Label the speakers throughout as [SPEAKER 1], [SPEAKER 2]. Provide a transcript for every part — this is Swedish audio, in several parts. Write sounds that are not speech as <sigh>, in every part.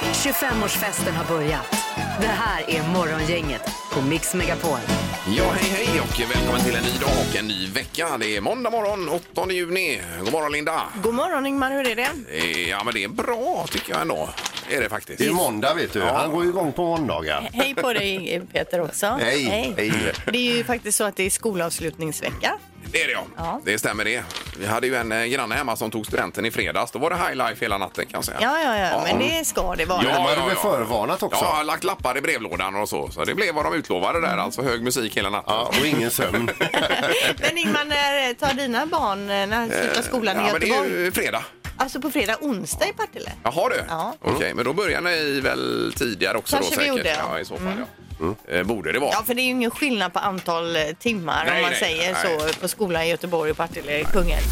[SPEAKER 1] 25-årsfesten har börjat. Det här är Morgongänget på Mix Megapol.
[SPEAKER 2] Ja, hej hej och välkommen till en ny dag och en ny vecka. Det är måndag morgon, 8 juni. God morgon Linda!
[SPEAKER 3] God morgon Ingmar, hur är det?
[SPEAKER 2] Eh, Ja, men det är bra tycker jag ändå. Är det faktiskt.
[SPEAKER 4] Det är måndag vet du. Han går ju igång på måndagar.
[SPEAKER 3] Hej på dig Peter också.
[SPEAKER 4] Hej, hej.
[SPEAKER 3] Det är ju faktiskt så att det är skolavslutningsvecka.
[SPEAKER 2] Det är det ja.
[SPEAKER 3] Ja.
[SPEAKER 2] Det stämmer det. Vi hade ju en eh, granne hemma som tog studenten i fredags. Då var det high life hela natten kan jag säga.
[SPEAKER 3] Ja, ja, ja, men det ska det vara.
[SPEAKER 4] Men de hade väl förvarnat också?
[SPEAKER 2] Ja, lagt lappar i brevlådan och så. Så det blev vad de utlovade
[SPEAKER 3] Mm.
[SPEAKER 2] där, alltså hög musik hela natten.
[SPEAKER 4] Ja, och ingen <laughs> sömn.
[SPEAKER 3] <laughs> Men Ingmar, när tar dina barn, eh, när slutar skolan i
[SPEAKER 2] Ja, men det är
[SPEAKER 3] Göteborg?
[SPEAKER 2] ju fredag.
[SPEAKER 3] Alltså på fredag, onsdag i Partille?
[SPEAKER 2] Jaha du.
[SPEAKER 3] Ja.
[SPEAKER 2] Okej, men då börjar ni väl tidigare också
[SPEAKER 3] Kanske
[SPEAKER 2] då
[SPEAKER 3] vi
[SPEAKER 2] säkert?
[SPEAKER 3] gjorde, ja.
[SPEAKER 2] ja. i så fall ja.
[SPEAKER 4] Mm.
[SPEAKER 2] Eh, Borde det vara.
[SPEAKER 3] Ja, för det är ju ingen skillnad på antal eh, timmar
[SPEAKER 2] Nej,
[SPEAKER 3] om man
[SPEAKER 2] nej,
[SPEAKER 3] säger
[SPEAKER 2] nej.
[SPEAKER 3] så på skolan i Göteborg och Partille, Kungälv.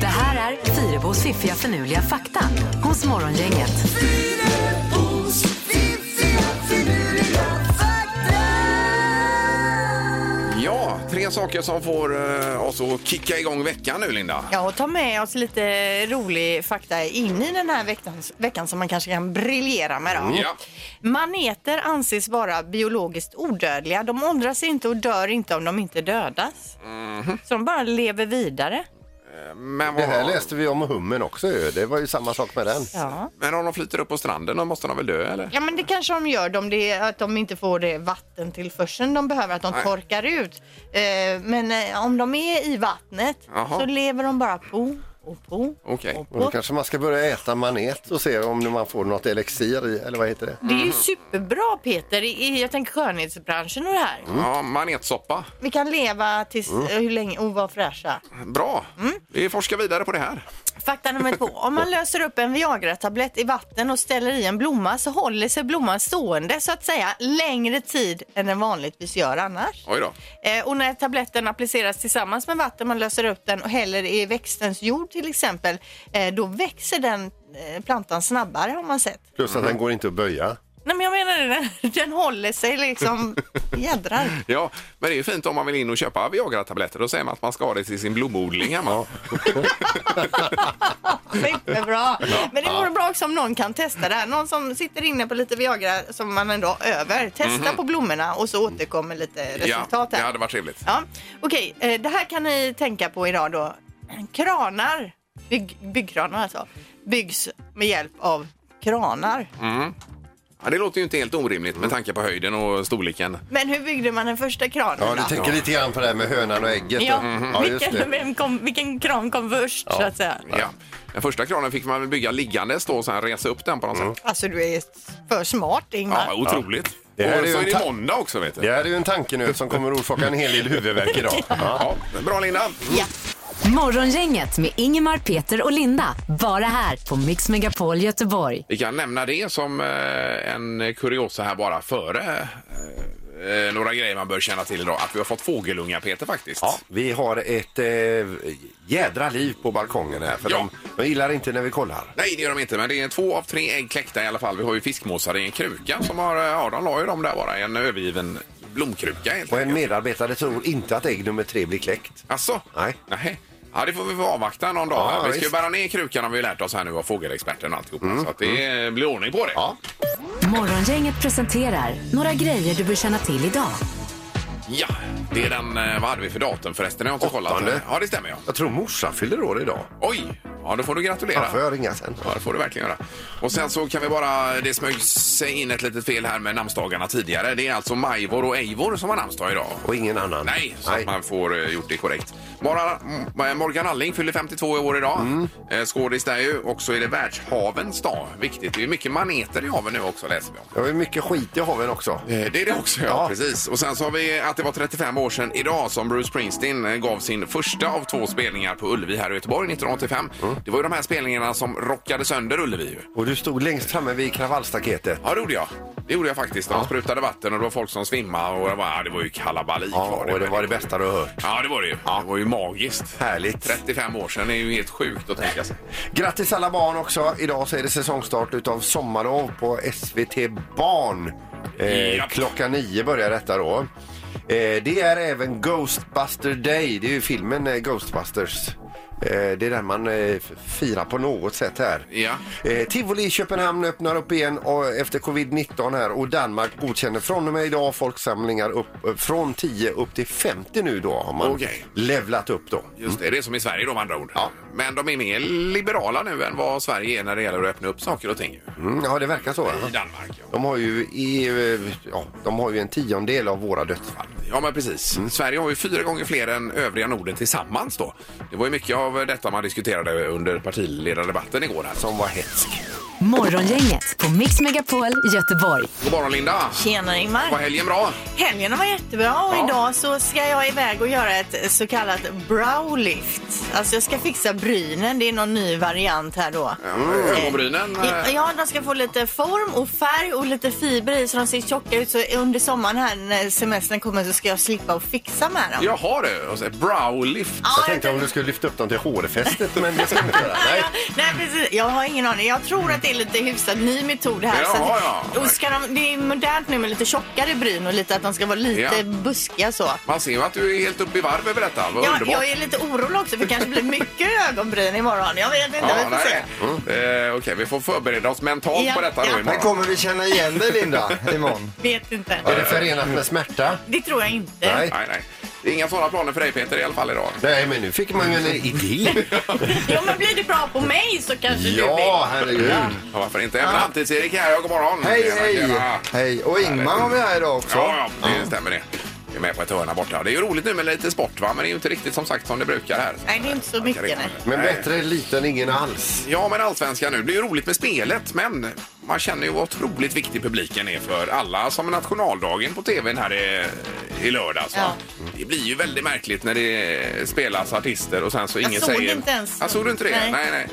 [SPEAKER 1] Det här är Fyrebos fiffiga förnuliga fakta hos Morgongänget.
[SPEAKER 2] Ja, tre saker som får eh, oss att kicka igång veckan nu, Linda.
[SPEAKER 3] Ja, och ta med oss lite rolig fakta in i den här veckan, veckan som man kanske kan briljera med. Då.
[SPEAKER 2] Mm. Ja.
[SPEAKER 3] Maneter anses vara biologiskt odödliga. De åldras inte och dör inte om de inte dödas.
[SPEAKER 2] Mhm.
[SPEAKER 3] Så de bara lever vidare.
[SPEAKER 2] Men,
[SPEAKER 4] Det
[SPEAKER 2] vad,
[SPEAKER 4] här läste vi om hummen också ju. Det var ju samma sak med den.
[SPEAKER 3] Ja.
[SPEAKER 2] men om de flyter upp på stranden, då måste de väl dö, eller?
[SPEAKER 3] ja, men det kanske de gör om det är att de inte får det vattentillförseln de behöver, att de
[SPEAKER 2] Nej.
[SPEAKER 3] torkar ut. Eh, Men eh, om de är i vattnet
[SPEAKER 2] Jaha.
[SPEAKER 3] så lever de bara på och på
[SPEAKER 2] Okej.
[SPEAKER 3] och
[SPEAKER 4] Och då
[SPEAKER 3] på.
[SPEAKER 4] kanske man ska börja äta manet och se om man får något elixir i, eller vad heter det?
[SPEAKER 3] Det är ju superbra Peter, i- i jag tänker skönhetsbranschen och det här.
[SPEAKER 4] Mm.
[SPEAKER 2] Ja, manetsoppa.
[SPEAKER 3] Vi kan leva tills, eh, hur länge och vara fräscha.
[SPEAKER 2] Bra.
[SPEAKER 4] Mm.
[SPEAKER 2] Vi forskar vidare på det här.
[SPEAKER 3] Fakta nummer två. Om man löser upp en Viagra-tablett i vatten och ställer i en blomma så håller sig blomman stående så att säga längre tid än den vanligtvis gör annars.
[SPEAKER 2] Oj då.
[SPEAKER 3] Eh, och när tabletten appliceras tillsammans med vatten, man löser upp den och häller i växtens jord till exempel, eh, då växer den eh, plantan snabbare har man sett.
[SPEAKER 4] Plus att den går inte att böja.
[SPEAKER 3] Nej men jag menar <laughs> det, den håller sig liksom jädrar.
[SPEAKER 2] Ja, men det är ju fint om man vill in och köpa Viagra-tabletter. Då säger man att man ska ha det till sin blomodling hemma.
[SPEAKER 3] Superbra! Men det vore bra också om någon kan testa det här. Någon som sitter inne på lite Viagra som man ändå har över. Testa på blommorna och så återkommer lite
[SPEAKER 2] Mhm. ja,
[SPEAKER 3] resultat
[SPEAKER 2] det
[SPEAKER 3] här.
[SPEAKER 2] hade varit trevligt.
[SPEAKER 3] Ja. Okej, eh, det här kan ni tänka på idag då. Kranar, bygg, byggkranar alltså, byggs med hjälp av kranar.
[SPEAKER 2] Mm. Ja, det låter ju inte helt orimligt
[SPEAKER 4] Mm.
[SPEAKER 2] med tanke på höjden och storleken.
[SPEAKER 3] Men hur byggde man den första kranen
[SPEAKER 4] Ja, du
[SPEAKER 3] då?
[SPEAKER 4] tänker lite grann på det här med hönan och ägget.
[SPEAKER 3] Ja,
[SPEAKER 2] Mhm.
[SPEAKER 4] ja Mhm. just
[SPEAKER 3] vilken,
[SPEAKER 4] det.
[SPEAKER 3] vem kom, vilken kran kom först så att säga?
[SPEAKER 2] Ja. Den första kranen fick man väl bygga liggandes då, så här resa upp den på något
[SPEAKER 4] Mm.
[SPEAKER 2] sätt.
[SPEAKER 3] Alltså du är för smart Ingmar.
[SPEAKER 2] Ja, otroligt.
[SPEAKER 4] Det här
[SPEAKER 2] och
[SPEAKER 4] är ju
[SPEAKER 2] så är
[SPEAKER 4] en
[SPEAKER 2] det
[SPEAKER 4] ta-
[SPEAKER 2] måndag också, vet du.
[SPEAKER 4] Det här är ju en tankenöt som kommer att orsaka en hel del huvudvärk idag. <laughs> Ja.
[SPEAKER 2] Ja, bra Linda.
[SPEAKER 3] Ja.
[SPEAKER 1] Morgongänget med Ingemar, Peter och Linda. Bara här på Mix Megapol Göteborg.
[SPEAKER 2] Vi kan nämna det som eh, en kuriosa här bara före eh, några grejer man bör känna till idag. Att vi har fått fågelungar, Peter, faktiskt.
[SPEAKER 5] Ja, vi har ett eh, jädra liv på balkongen här. För
[SPEAKER 2] Ja.
[SPEAKER 5] de, de gillar inte när vi kollar.
[SPEAKER 2] Nej, det gör de inte, men det är två av tre ägg kläckta i alla fall. Vi har ju fiskmåsar i en kruka som har, eh, ja, de la ju dem där bara i en övergiven blomkruka helt
[SPEAKER 5] Och en
[SPEAKER 2] enkelt.
[SPEAKER 5] medarbetare tror inte att ägg nummer tre blir kläckt.
[SPEAKER 2] Alltså?
[SPEAKER 5] Nej.
[SPEAKER 2] Nej. Ja, det får vi få avvakta någon dag.
[SPEAKER 5] Ja,
[SPEAKER 2] här. vi ska ju
[SPEAKER 5] visst. Mm,
[SPEAKER 2] bära ner krukan har vi ju lärt oss här nu av fågelexperten och alltihopa. Så att det eh, blir ordning på det.
[SPEAKER 5] Ja.
[SPEAKER 1] Morgongänget presenterar några grejer du bör känna till idag.
[SPEAKER 2] Ja, det är den, eh, vad hade vi för datum förresten? Jag har inte kollat.
[SPEAKER 5] Åttonde.
[SPEAKER 2] Ja, det stämmer ja.
[SPEAKER 5] Jag tror morsan fyller år idag.
[SPEAKER 2] Oj! Ja, då får du gratulera.
[SPEAKER 5] Ja, får jag ringa sen?
[SPEAKER 2] Ja, det får du verkligen göra. Och sen så kan vi bara, det smög sig in ett litet fel här med namnsdagarna tidigare. Det är alltså Majvor och Eivor som har namnsdag idag.
[SPEAKER 5] Och ingen annan.
[SPEAKER 2] Nej, så att man får eh, gjort det korrekt. Mora- M- Morgan Alling fyller 52 år idag. Mm. Skådis där ju. Och så är det världshavens dag. Viktigt. Det är mycket maneter i haven nu också läser vi om.
[SPEAKER 5] Det var ju mycket skit i haven också.
[SPEAKER 2] Eh, Det är det också, ja.
[SPEAKER 5] Ja.
[SPEAKER 2] Precis. Och sen så har vi att det var 35 år sedan idag som Bruce Springsteen eh, gav sin första av två spelningar på Ullevi här i Göteborg 1985. Det var ju de här spelningarna som rockade sönder Ullevi ju.
[SPEAKER 5] Och du stod längst framme vid kravallstaketet.
[SPEAKER 2] Ja, det gjorde jag. Det gjorde jag faktiskt. De sprutade vatten och det var folk som svimmade och det var, ja, det var ju kalabalik.
[SPEAKER 5] Ja, och det var det
[SPEAKER 2] väldigt.
[SPEAKER 5] bästa du har hört.
[SPEAKER 2] Ja, det var det ju. Det var ju magiskt.
[SPEAKER 5] Härligt. Mm.
[SPEAKER 2] 35 år sedan är ju helt sjukt att tänka sig.
[SPEAKER 5] Grattis alla barn också. Idag så är det säsongstart utav Sommarlov på SVT Barn. Eh,
[SPEAKER 2] Japp.
[SPEAKER 5] klockan nio börjar detta då. Eh, det är även Ghostbuster Day. Det är ju filmen eh, Ghostbusters. Eh, Det är den man eh, f- firar på något sätt här.
[SPEAKER 2] Ja.
[SPEAKER 5] Eh, Tivoli i Köpenhamn öppnar upp igen och efter covid-19 här och Danmark godkänner från och med idag folksamlingar upp, eh, från 10 upp till 50 nu då har man
[SPEAKER 2] Okej.
[SPEAKER 5] levlat upp då.
[SPEAKER 2] Just det, det är som i Sverige då med andra ord.
[SPEAKER 5] Ja.
[SPEAKER 2] Men de är mer liberala nu än vad Sverige är när det gäller att öppna upp saker och ting. ju.
[SPEAKER 5] Mm, ja, det verkar så.
[SPEAKER 2] I
[SPEAKER 5] ja.
[SPEAKER 2] Danmark. ja.
[SPEAKER 5] De har ju, i, eh, ja, de har ju en tiondel av våra dödsfall.
[SPEAKER 2] Ja, men precis.
[SPEAKER 5] Mm.
[SPEAKER 2] Sverige har ju fyra gånger fler än övriga Norden tillsammans då. Det var ju mycket av detta man diskuterade under partiledardebatten igår. Här.
[SPEAKER 5] Som var hetsk.
[SPEAKER 1] Morgongänget på Mix Megapol Göteborg.
[SPEAKER 2] God morgon Linda!
[SPEAKER 3] Tjena
[SPEAKER 2] Var
[SPEAKER 3] Ingmar!
[SPEAKER 2] helgen bra?
[SPEAKER 3] Helgen var jättebra och
[SPEAKER 2] Ja.
[SPEAKER 3] idag så ska jag iväg och göra ett så kallat browlift. Alltså jag ska fixa brynen, det är någon ny variant här då.
[SPEAKER 5] Mm.
[SPEAKER 2] Ögonbrynen?
[SPEAKER 3] Ja,
[SPEAKER 2] eh,
[SPEAKER 3] Ja, de ska få lite form och färg och lite fibrer i så de ser tjocka ut. Så under sommaren här när semestern kommer så ska jag slippa och fixa med dem.
[SPEAKER 2] Jaha du! Och så browlift.
[SPEAKER 3] Ja,
[SPEAKER 5] Jag
[SPEAKER 3] jag
[SPEAKER 5] tänkte om
[SPEAKER 3] tänkte-
[SPEAKER 5] du skulle lyfta upp dem till hårfästet, men det ska du inte göra. Nej.
[SPEAKER 3] Nej. Nej, precis. Jag har ingen aning. Jag tror att det är lite hyfsat ny metod här.
[SPEAKER 2] Ja,
[SPEAKER 3] så att,
[SPEAKER 2] ja.
[SPEAKER 3] Och ska de, det är modernt nu med lite tjockare bryn och lite att de ska vara lite
[SPEAKER 2] Ja.
[SPEAKER 3] buskiga så.
[SPEAKER 2] Man ser ju att du är helt uppe i varv över detta. Vad
[SPEAKER 3] Ja,
[SPEAKER 2] underbart!
[SPEAKER 3] jag är lite orolig också för det kanske blir mycket ögonbryn imorgon. Jag vet inte, vi får se.
[SPEAKER 2] nej. Eh, Okej, vi får förbereda oss mentalt
[SPEAKER 3] Ja,
[SPEAKER 2] på detta
[SPEAKER 3] ja.
[SPEAKER 2] då
[SPEAKER 6] Men
[SPEAKER 2] imorgon.
[SPEAKER 6] kommer vi känna igen dig Linda imorgon?
[SPEAKER 3] Vet inte.
[SPEAKER 5] Är det förenat med smärta?
[SPEAKER 3] Det tror jag inte.
[SPEAKER 5] Nej.
[SPEAKER 2] Nej, nej. Det är inga sådana planer för dig Peter i alla fall idag.
[SPEAKER 6] Mm.
[SPEAKER 5] Nej, men nu fick man ju en idé.
[SPEAKER 3] <laughs> Ja, men blir det bra på mig så kanske du
[SPEAKER 5] Ja,
[SPEAKER 3] vill.
[SPEAKER 5] herregud.
[SPEAKER 2] Ja, varför inte? Även Halvtids-Erik är här. Ja, God morgon!
[SPEAKER 6] Hej,
[SPEAKER 2] Tjena,
[SPEAKER 6] hej!
[SPEAKER 2] tjena.
[SPEAKER 6] Hej! Och Ingmar har vi här idag också.
[SPEAKER 2] Ja, ja, det stämmer det. Vi är med på ett hörn här borta. Det är ju roligt nu med lite sport va, men det är ju inte riktigt som sagt som det brukar här.
[SPEAKER 3] Nej, det är inte så mycket, nej.
[SPEAKER 5] Men bättre lite än ingen alls.
[SPEAKER 2] Ja, men allsvenskan nu. Det är ju roligt med spelet, men man känner ju vad otroligt viktig publiken är för alla som nationaldagen på tvn här i, i lördags. va? Det blir ju väldigt märkligt när det spelas artister och sen så ingen
[SPEAKER 3] såg
[SPEAKER 2] säger...
[SPEAKER 3] det inte ens.
[SPEAKER 2] Jag såg du inte det? Nej,
[SPEAKER 3] Nej.
[SPEAKER 2] nej.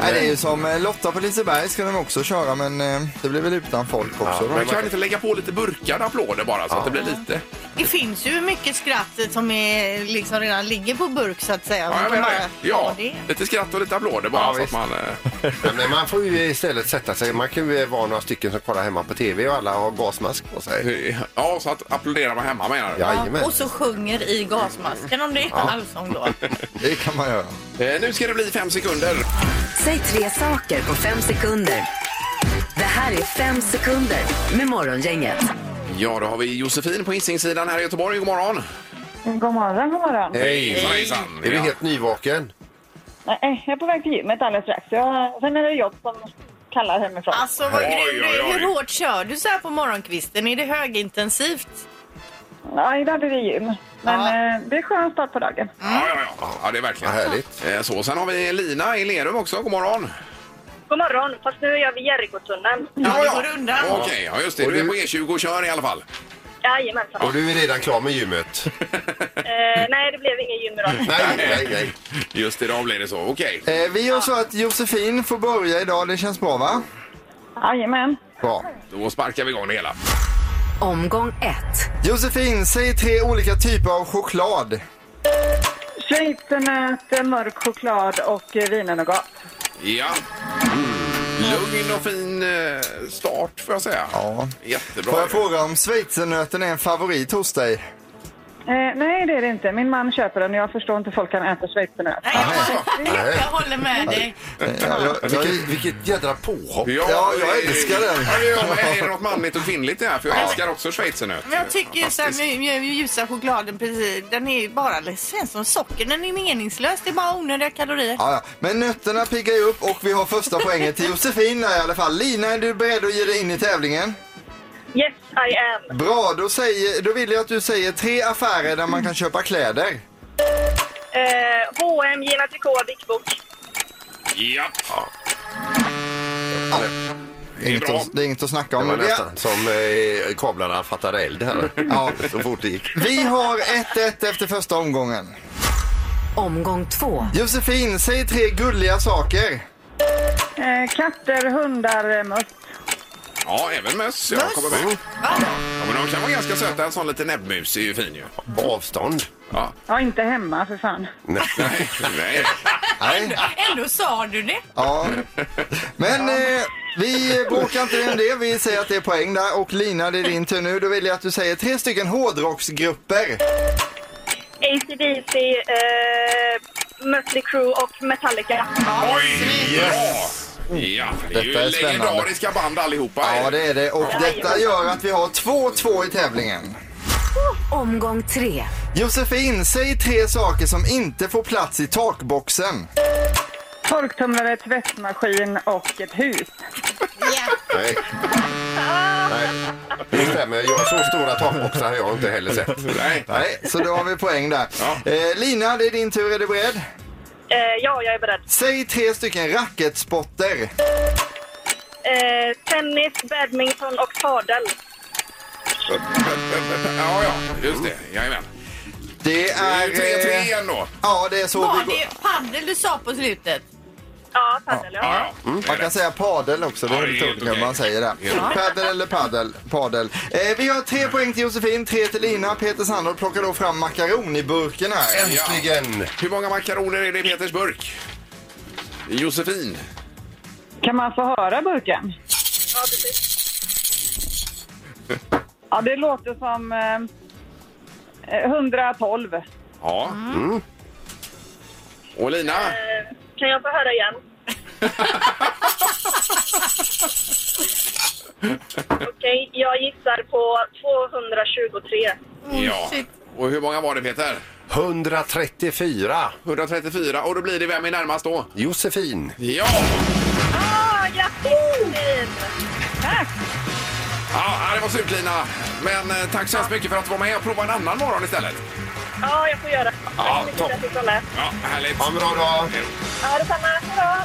[SPEAKER 6] Nej, det är ju som eh, Lotta på Liseberg ska de också köra men eh, det blir väl utan folk också.
[SPEAKER 2] Men kan man inte lägga på lite burkade applåder bara så att det blir lite...
[SPEAKER 3] Det finns ju mycket skratt som är, liksom redan ligger på burk så att säga.
[SPEAKER 2] Ja, jag
[SPEAKER 3] Man kan
[SPEAKER 2] menar
[SPEAKER 3] bara
[SPEAKER 2] det.
[SPEAKER 3] ta
[SPEAKER 2] Ja,
[SPEAKER 3] det.
[SPEAKER 2] lite skratt och lite applåder bara så att man... eh,
[SPEAKER 5] Nej, Men man får ju istället sätta sig. Man kan ju vara några stycken som kollar hemma på tv och alla har gasmask på sig.
[SPEAKER 2] eh, <laughs> Ja, så att applådera man hemma menar du?
[SPEAKER 5] Jajamän.
[SPEAKER 3] Och så sjunger i gasmasken om det är allsång då.
[SPEAKER 6] Det kan man göra.
[SPEAKER 2] Eh, Nu ska det bli fem sekunder.
[SPEAKER 1] Säg tre saker på fem sekunder. Det här är fem sekunder med Morgongänget.
[SPEAKER 2] Ja, då har vi Josefin på Hisingssidan här i Göteborg. God morgon!
[SPEAKER 7] God morgon, god
[SPEAKER 8] Eh.
[SPEAKER 7] morgon.
[SPEAKER 5] Hej!
[SPEAKER 2] Hejsan, hejsan!
[SPEAKER 5] Är du
[SPEAKER 2] Ja.
[SPEAKER 5] helt nyvaken?
[SPEAKER 7] Nej, eh, jag är på väg till gymmet alldeles strax. Jag, sen är det jobb som kallar hemifrån.
[SPEAKER 8] Ah.
[SPEAKER 3] Alltså
[SPEAKER 2] <laughs>
[SPEAKER 3] vad
[SPEAKER 2] Oj,
[SPEAKER 3] grym du
[SPEAKER 2] oj, oj.
[SPEAKER 3] är. Hur hårt kör du så här på morgonkvisten? Är det högintensivt?
[SPEAKER 7] Ja, idag blir det gym. Men
[SPEAKER 3] Ja.
[SPEAKER 8] Ah.
[SPEAKER 7] eh, det är skön start på dagen.
[SPEAKER 2] Ja, ja, ja. ja, det är verkligen
[SPEAKER 5] Vad härligt.
[SPEAKER 2] Eh, Så, sen har vi Lina i Lerum också. God morgon!
[SPEAKER 8] God morgon, fast nu är jag vid Jerikotunneln.
[SPEAKER 3] Ja, det går undan.
[SPEAKER 2] Okej, ja, just det.
[SPEAKER 5] Och
[SPEAKER 2] Du är
[SPEAKER 5] du-
[SPEAKER 2] på E20 och kör i alla fall.
[SPEAKER 8] Jajamensan.
[SPEAKER 5] Och du är redan klar med gymmet?
[SPEAKER 8] Eh, nej, det blev ingen gym idag.
[SPEAKER 5] <laughs> Nej, nej, nej.
[SPEAKER 2] <laughs> Just idag blir det så. Okej.
[SPEAKER 6] Eh, vi gör så att Josefin får börja idag, det känns bra va?
[SPEAKER 8] Ah.
[SPEAKER 7] Jajamän.
[SPEAKER 6] Bra.
[SPEAKER 2] Då sparkar vi igång det hela.
[SPEAKER 1] Omgång ett.
[SPEAKER 6] Josefin, säg tre olika typer av choklad.
[SPEAKER 7] Schweizernöt, eh, mörk choklad och eh, vinenogat.
[SPEAKER 2] Ja. Mm. Lugn och fin eh, start, får jag säga.
[SPEAKER 6] Ja.
[SPEAKER 2] Jättebra.
[SPEAKER 6] Får jag fråga om schweizernöten är en favorit hos dig?
[SPEAKER 7] Eh, nej, det är det inte. Min man köper den och jag förstår inte hur folk kan äta schweizernöt.
[SPEAKER 3] Nej, jag, jag håller med dig.
[SPEAKER 6] Eh, Ja, jag, jag,
[SPEAKER 5] Vilket, vilket jädra påhopp!
[SPEAKER 6] Ja, jag älskar den.
[SPEAKER 2] Ja, ja, men är det något manligt och kvinnligt i det här? För jag älskar också schweizernöt.
[SPEAKER 3] Men jag tycker ju så här,
[SPEAKER 2] Fantastiskt.
[SPEAKER 3] mj- mj- ljusa chokladen precis, den är ju bara, det känns som socker, den är meningslös, det är bara onödiga kalorier.
[SPEAKER 6] Ja, ja. Men nötterna piggar ju upp och vi har första poängen till Josefin här i alla fall. Lina, är du beredd att ge dig in i tävlingen?
[SPEAKER 8] Yes, I am.
[SPEAKER 6] Bra, då, säger, då vill jag att du säger tre affärer där man kan köpa kläder.
[SPEAKER 8] Eh, H&M, Gina Tricot, Dick Book.
[SPEAKER 2] Ja.
[SPEAKER 6] Det är inget,
[SPEAKER 2] bra.
[SPEAKER 6] att, det är inget att snacka
[SPEAKER 5] Det
[SPEAKER 6] om.
[SPEAKER 5] var
[SPEAKER 6] Vi-
[SPEAKER 5] nästan som eh, kablarna fattade eld här.
[SPEAKER 6] Ja.
[SPEAKER 5] Så fort det gick.
[SPEAKER 6] Vi har 1-1 efter första omgången.
[SPEAKER 1] Omgång två.
[SPEAKER 6] Josefin, säg tre gulliga saker.
[SPEAKER 7] Eh, katter, hundar, eh, möss.
[SPEAKER 2] ja, även möss. Jag kommer med. Ja, men de kan vara ganska söta. En sån liten näbbmus är ju fin ju.
[SPEAKER 5] På avstånd.
[SPEAKER 2] Ja.
[SPEAKER 7] Ja, inte hemma för fan.
[SPEAKER 2] Nej,
[SPEAKER 6] <laughs>
[SPEAKER 2] nej.
[SPEAKER 6] Nej.
[SPEAKER 3] Ändå sa du det.
[SPEAKER 6] Ja. Men eh, vi bråkar inte om det. Vi säger att det är poäng där. Och Lina, det är din tur nu. Då vill jag att du säger tre stycken hårdrocksgrupper.
[SPEAKER 8] ACDC, eh, Mötley Crüe och Metallica.
[SPEAKER 2] Oj! Bra! Ja, det är ju
[SPEAKER 6] Detta är spännande.
[SPEAKER 2] legendariska band allihopa.
[SPEAKER 6] Ja, det är det. Och detta gör att vi har 2-2 i tävlingen.
[SPEAKER 1] Omgång tre.
[SPEAKER 6] Josefin, säg tre saker som inte får plats i takboxen.
[SPEAKER 7] Torktumlare, tvättmaskin och ett hus.
[SPEAKER 3] <laughs>
[SPEAKER 5] Nej. Nej. Det stämmer. Jag, så stora takboxar har jag inte heller sett.
[SPEAKER 2] Nej.
[SPEAKER 6] Nej, så då har vi poäng där.
[SPEAKER 2] Ja.
[SPEAKER 6] Eh, Lina, det är din tur. Är du beredd?
[SPEAKER 8] Eh, ja, jag är beredd.
[SPEAKER 6] Säg tre stycken racketspotter.
[SPEAKER 8] Eh, tennis, badminton och padel.
[SPEAKER 2] Ja, ja, just det. Jajamän.
[SPEAKER 6] Det är... eh,
[SPEAKER 2] 3-3 igen då.
[SPEAKER 6] Ja, det är så
[SPEAKER 3] Var
[SPEAKER 6] vi går.
[SPEAKER 3] det padel du sa på slutet?
[SPEAKER 8] Ja, padel. Ja.
[SPEAKER 2] Ja, ja. Det är
[SPEAKER 6] Mm. Man kan
[SPEAKER 2] rätt.
[SPEAKER 6] säga padel också, det
[SPEAKER 2] Ja,
[SPEAKER 6] är
[SPEAKER 2] det är
[SPEAKER 6] lite
[SPEAKER 2] helt
[SPEAKER 6] olika hur
[SPEAKER 2] okej.
[SPEAKER 6] man säger det. Padel eller padel? padel. Eh, vi har tre poäng till Josefin, tre till Lina. Peter Sandholt plockar då fram makaroniburken här.
[SPEAKER 5] Äntligen!
[SPEAKER 2] Hur många makaroner är det i Peters burk? Josefin?
[SPEAKER 7] Kan man få höra burken?
[SPEAKER 8] ja, precis.
[SPEAKER 7] Ja, det låter som eh, 112.
[SPEAKER 2] Ja.
[SPEAKER 6] Mm.
[SPEAKER 2] Och Lina?
[SPEAKER 8] Kan jag få
[SPEAKER 2] <laughs>
[SPEAKER 8] höra igen? Okej, jag gissar på 223.
[SPEAKER 2] Ja. Och hur många var det Peter?
[SPEAKER 5] 134.
[SPEAKER 2] 134. Och då blir det vem är närmast då?
[SPEAKER 5] Josefin.
[SPEAKER 2] Ja!
[SPEAKER 8] Ah, grattis! Josefin!
[SPEAKER 2] Ja, det var surt Lina. Men eh, tack så hemskt mycket för att du var med och prova en annan morgon istället.
[SPEAKER 8] Ja, jag får göra det.
[SPEAKER 2] Ja,
[SPEAKER 8] Tack så mycket för att jag fick vara med.
[SPEAKER 2] Ja, härligt.
[SPEAKER 5] Ha en bra dag.
[SPEAKER 8] Ja, detsamma.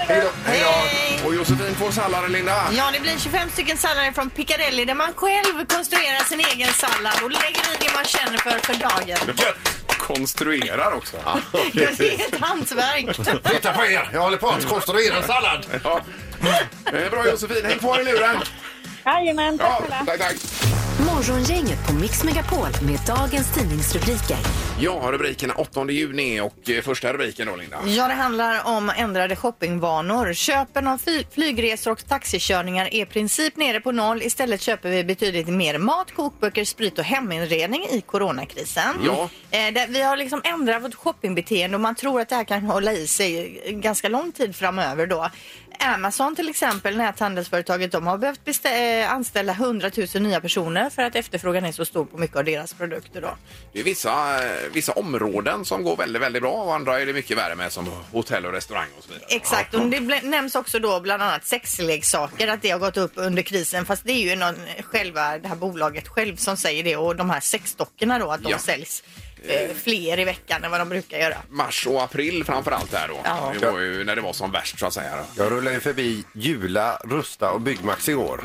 [SPEAKER 8] Hej då!
[SPEAKER 5] Hej då. Hej då.
[SPEAKER 2] Och Josefin får sallad Linda.
[SPEAKER 3] Ja, det blir 25 stycken sallader från Piccadilly där man själv konstruerar sin egen sallad och lägger i det man känner för för dagen.
[SPEAKER 2] Konstruerar också.
[SPEAKER 3] Det är ett hantverk.
[SPEAKER 5] Titta på er! Jag håller på att konstruera en sallad.
[SPEAKER 2] Ja. Eh, Bra Josefin, häng kvar i luren.
[SPEAKER 7] Jajamän, tack
[SPEAKER 2] Ja,
[SPEAKER 7] för det.
[SPEAKER 2] tack, tack.
[SPEAKER 1] Morgongänget på Mix Megapol med dagens tidningsrubriker.
[SPEAKER 2] Ja, rubrikerna 8 juni och eh, första rubriken då Linda.
[SPEAKER 3] Ja, det handlar om ändrade shoppingvanor. Köpen av fly- flygresor och taxikörningar är i princip nere på noll. Istället köper vi betydligt mer mat, kokböcker, sprit och heminredning i coronakrisen.
[SPEAKER 2] Ja.
[SPEAKER 3] Eh, där vi har liksom ändrat vårt shoppingbeteende och man tror att det här kan hålla i sig ganska lång tid framöver då. Amazon till exempel, näthandelsföretaget, de har behövt bestä- eh, anställa 100 000 nya personer för att efterfrågan är så stor på mycket av deras produkter då.
[SPEAKER 2] Det är vissa, eh, vissa områden som går väldigt, väldigt bra och andra är det mycket värre med som hotell och restaurang och så vidare.
[SPEAKER 3] Exakt, och det bl- nämns också då bland annat sexleksaker att det har gått upp under krisen fast det är ju någon, själva det här bolaget själv som säger det och de här sexdockorna då att de
[SPEAKER 2] Ja.
[SPEAKER 3] säljs eh, fler i veckan än vad de brukar göra.
[SPEAKER 2] Mars och april framför allt där då.
[SPEAKER 3] Ja.
[SPEAKER 2] Det var ju när det var som värst så att säga.
[SPEAKER 5] Jag rullade ju förbi Jula, Rusta och Byggmax igår.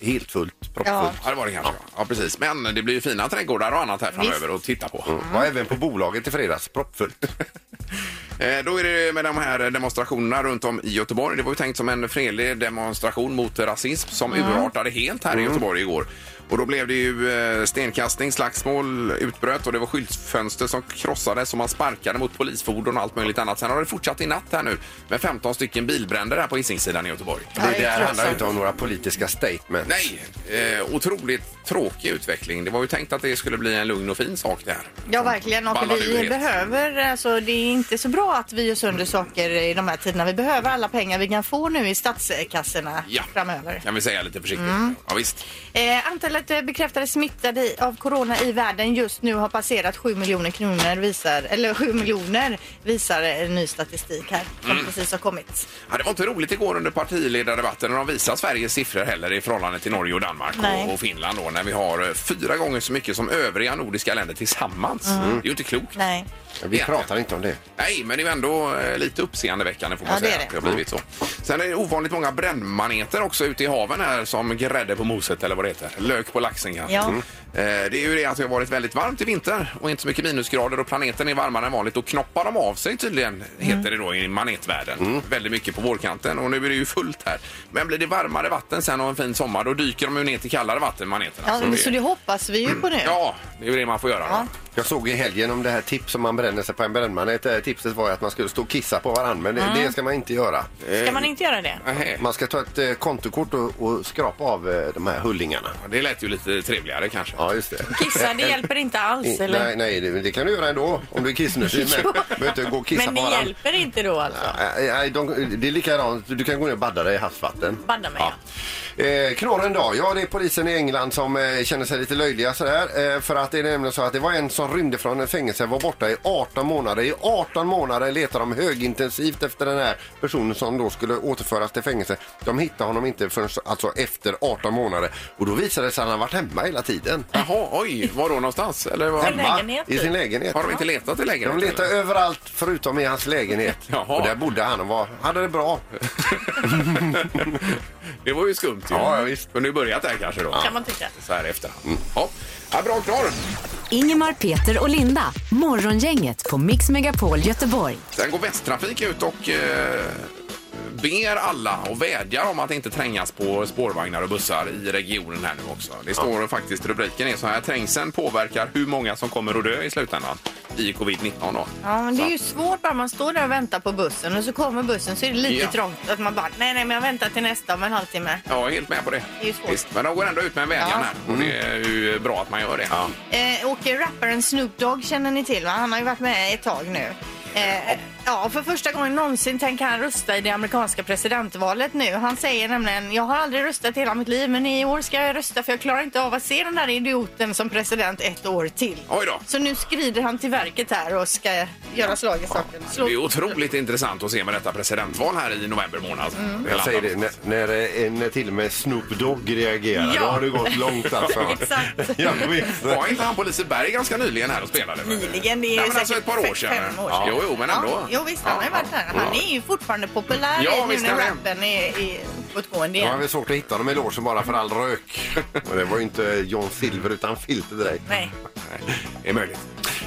[SPEAKER 5] Helt fullt, proppfullt.
[SPEAKER 2] Mm. Ja, det var det kanske. Ja. ja, precis. Men det blir ju fina trädgårdar och annat här framöver att titta på.
[SPEAKER 5] Var även på bolaget i fredags, proppfullt.
[SPEAKER 2] Eh, Då är det med de här demonstrationerna runt om i Göteborg. Det var ju tänkt som en fredlig demonstration mot rasism som urartade helt här i Göteborg igår. Och då blev det ju eh, stenkastning, slagsmål utbröt och det var skyltfönster som krossades och man sparkade mot polisfordon och allt möjligt annat. Sen har det fortsatt i natt här nu med 15 stycken bilbränder här på Hisingssidan i Göteborg.
[SPEAKER 5] Det där handlar ju inte om några politiska statements.
[SPEAKER 2] Nej, eh, otroligt tråkig utveckling. Det var ju tänkt att det skulle bli en lugn och fin sak det här.
[SPEAKER 3] Ja verkligen och
[SPEAKER 2] ballar ur
[SPEAKER 3] vi
[SPEAKER 2] helt.
[SPEAKER 3] behöver, alltså det är inte så bra att vi gör sönder saker i de här tiderna. Vi behöver alla pengar vi kan få nu i statskassorna
[SPEAKER 2] Ja,
[SPEAKER 3] framöver. Mm.
[SPEAKER 2] kan vi säga lite försiktigt. Ja, visst.
[SPEAKER 3] Eh, antalet eh, bekräftade smittade i- av corona i världen just nu har passerat 7 miljoner kronor visar, eller 7 miljoner visar eh, ny statistik här som
[SPEAKER 2] Mm.
[SPEAKER 3] precis har kommit.
[SPEAKER 2] Ja, det var inte roligt igår under partiledardebatten när de visade Sveriges siffor heller i förhållande till Norge och Danmark
[SPEAKER 3] Nej.
[SPEAKER 2] och, och Finland då när vi har eh, fyra gånger så mycket som övriga nordiska länder tillsammans.
[SPEAKER 3] Mm.
[SPEAKER 2] Det är ju inte klokt.
[SPEAKER 3] Nej.
[SPEAKER 5] Vi pratar inte om det.
[SPEAKER 2] Nej, men det är ju ändå eh, lite uppseendeväckande får man
[SPEAKER 3] Ja, det
[SPEAKER 2] säga.
[SPEAKER 3] är det. Mm.
[SPEAKER 2] att har blivit så. Sen är det ovanligt många brännmaneter också ute i haven här som grädde på moset eller vad det heter. Lök på laxen kanske.
[SPEAKER 3] Ja.
[SPEAKER 2] Eh, Det är ju det att det har varit väldigt varmt i vinter och inte så mycket minusgrader och planeten är varmare än vanligt. Då knoppar de av sig
[SPEAKER 3] Mm.
[SPEAKER 2] tydligen, heter det då i manetvärlden. Väldigt mycket på vårkanten och nu är det ju fullt här. Men blir det varmare vatten sen och en fin sommar då dyker de ju ner till kallare vatten, maneterna.
[SPEAKER 3] Ja,
[SPEAKER 2] Så det-
[SPEAKER 3] så det hoppas vi ju på nu.
[SPEAKER 2] Ja, det är ju det man får göra. då.
[SPEAKER 5] Jag såg i helgen om det här tipset om man bränner sig på en brännmanet. Det här tipset var ju att man skulle stå och kissa på varandra, men det, det ska man inte göra.
[SPEAKER 3] Ska man inte göra det?
[SPEAKER 2] Nähä.
[SPEAKER 5] Man ska ta ett eh, kontokort och, och skrapa av eh, de här hullingarna.
[SPEAKER 2] Det lät ju lite trevligare kanske.
[SPEAKER 5] Ja, just det.
[SPEAKER 3] Kissa,
[SPEAKER 5] <laughs>
[SPEAKER 3] det hjälper inte alls.
[SPEAKER 5] I,
[SPEAKER 3] Eller?
[SPEAKER 5] nej, nej, det, det kan du göra ändå om du är kissnödig.
[SPEAKER 3] <laughs>
[SPEAKER 5] Men behöver inte gå och kissa
[SPEAKER 3] Men
[SPEAKER 5] på
[SPEAKER 3] det
[SPEAKER 5] varandra.
[SPEAKER 3] hjälper inte då alltså?
[SPEAKER 5] Nej, nej, eh, de, det är likadant. Du kan gå ner och badda dig i havsvatten.
[SPEAKER 3] Badda mig,
[SPEAKER 5] Eh, knorren då? Ja, det är polisen i England som eh, känner sig lite löjliga sådär. Eh, för att det är nämligen så att det var en som rymde från en fängelse, var borta i 18 månader. I 18 månader letar de högintensivt efter den här personen som då skulle återföras till fängelse. De hittar honom inte förrän alltså efter 18 månader. Och då visade det sig att han har varit hemma hela tiden.
[SPEAKER 2] Jaha, oj, var då någonstans? Eller var...
[SPEAKER 3] En lägenhet,
[SPEAKER 5] I sin
[SPEAKER 3] typ.
[SPEAKER 5] lägenhet.
[SPEAKER 2] Har de inte letat i
[SPEAKER 5] De
[SPEAKER 2] lägenheten?
[SPEAKER 5] letade överallt förutom i hans lägenhet.
[SPEAKER 2] <laughs> Jaha.
[SPEAKER 5] Och där bodde han och var, hade det bra.
[SPEAKER 2] <laughs> Det var ju skumt ju.
[SPEAKER 5] Ja, ja, visst.
[SPEAKER 2] Kunde ju börjat där kanske då.
[SPEAKER 3] Kan man tycka.
[SPEAKER 2] Så här efter. Ja. ja, bra knorr.
[SPEAKER 1] Ingemar, Peter och Linda. Morgongänget på Mix Megapol Göteborg.
[SPEAKER 2] Sen går Västtrafik ut och eh, ber alla och vädjar om att inte trängas på spårvagnar och bussar i regionen här nu också. Det står faktiskt, rubriken är så här, trängseln påverkar hur många som kommer att dö i slutändan i covid-19 då.
[SPEAKER 3] Ja, men det är ju svårt bara man står där och väntar på bussen och så kommer bussen så är det lite
[SPEAKER 2] Ja.
[SPEAKER 3] trångt att man bara nej, nej, men jag väntar till nästa om en halvtimme.
[SPEAKER 2] Jag är helt med på det.
[SPEAKER 3] Det är ju svårt.
[SPEAKER 2] Men de går ändå ut med en vädjan
[SPEAKER 3] Ja.
[SPEAKER 2] här och det är ju bra att man gör det.
[SPEAKER 3] Eh, och rapparen Snoop Dogg känner ni till va? Han har ju varit med ett tag nu. Eh, ja, för första gången någonsin tänker han rösta i det amerikanska presidentvalet nu. Han säger nämligen, jag har aldrig röstat i hela mitt liv men i år ska jag rösta för jag klarar inte av att se den där idioten som president ett år till.
[SPEAKER 2] Oj då.
[SPEAKER 3] Så nu skrider han till verket här och ska göra slag i saken.
[SPEAKER 2] Det är ju otroligt intressant att se med detta presidentval här i november månad.
[SPEAKER 3] Mm.
[SPEAKER 5] Jag säger det, när, när, eh, när till och med Snoop Dogg reagerar,
[SPEAKER 3] Ja.
[SPEAKER 5] då har det gått långt alltså.
[SPEAKER 3] <laughs> Exakt.
[SPEAKER 5] ja, visst.
[SPEAKER 2] Var inte han på Liseberg ganska nyligen här och spelade?
[SPEAKER 3] Nyligen, det är
[SPEAKER 2] Nej,
[SPEAKER 3] ju
[SPEAKER 2] men alltså ett par år
[SPEAKER 3] säkert
[SPEAKER 2] sedan.
[SPEAKER 3] fem år
[SPEAKER 2] Ja,
[SPEAKER 3] sedan.
[SPEAKER 2] jo, jo, men ändå.
[SPEAKER 3] Ja, jo, visst, han har ju
[SPEAKER 2] Ja, Mm.
[SPEAKER 3] varit här. Han är ju fortfarande populär
[SPEAKER 2] Ja,
[SPEAKER 3] nu
[SPEAKER 2] visst
[SPEAKER 3] när
[SPEAKER 2] är han.
[SPEAKER 3] rappen är, är uppåtgående
[SPEAKER 5] Det var
[SPEAKER 3] igen.
[SPEAKER 5] väl svårt att hitta dem i logen bara för all rök. <laughs> Men det var ju inte John Silver utan filter direkt.
[SPEAKER 3] Nej.
[SPEAKER 2] Det är möjligt.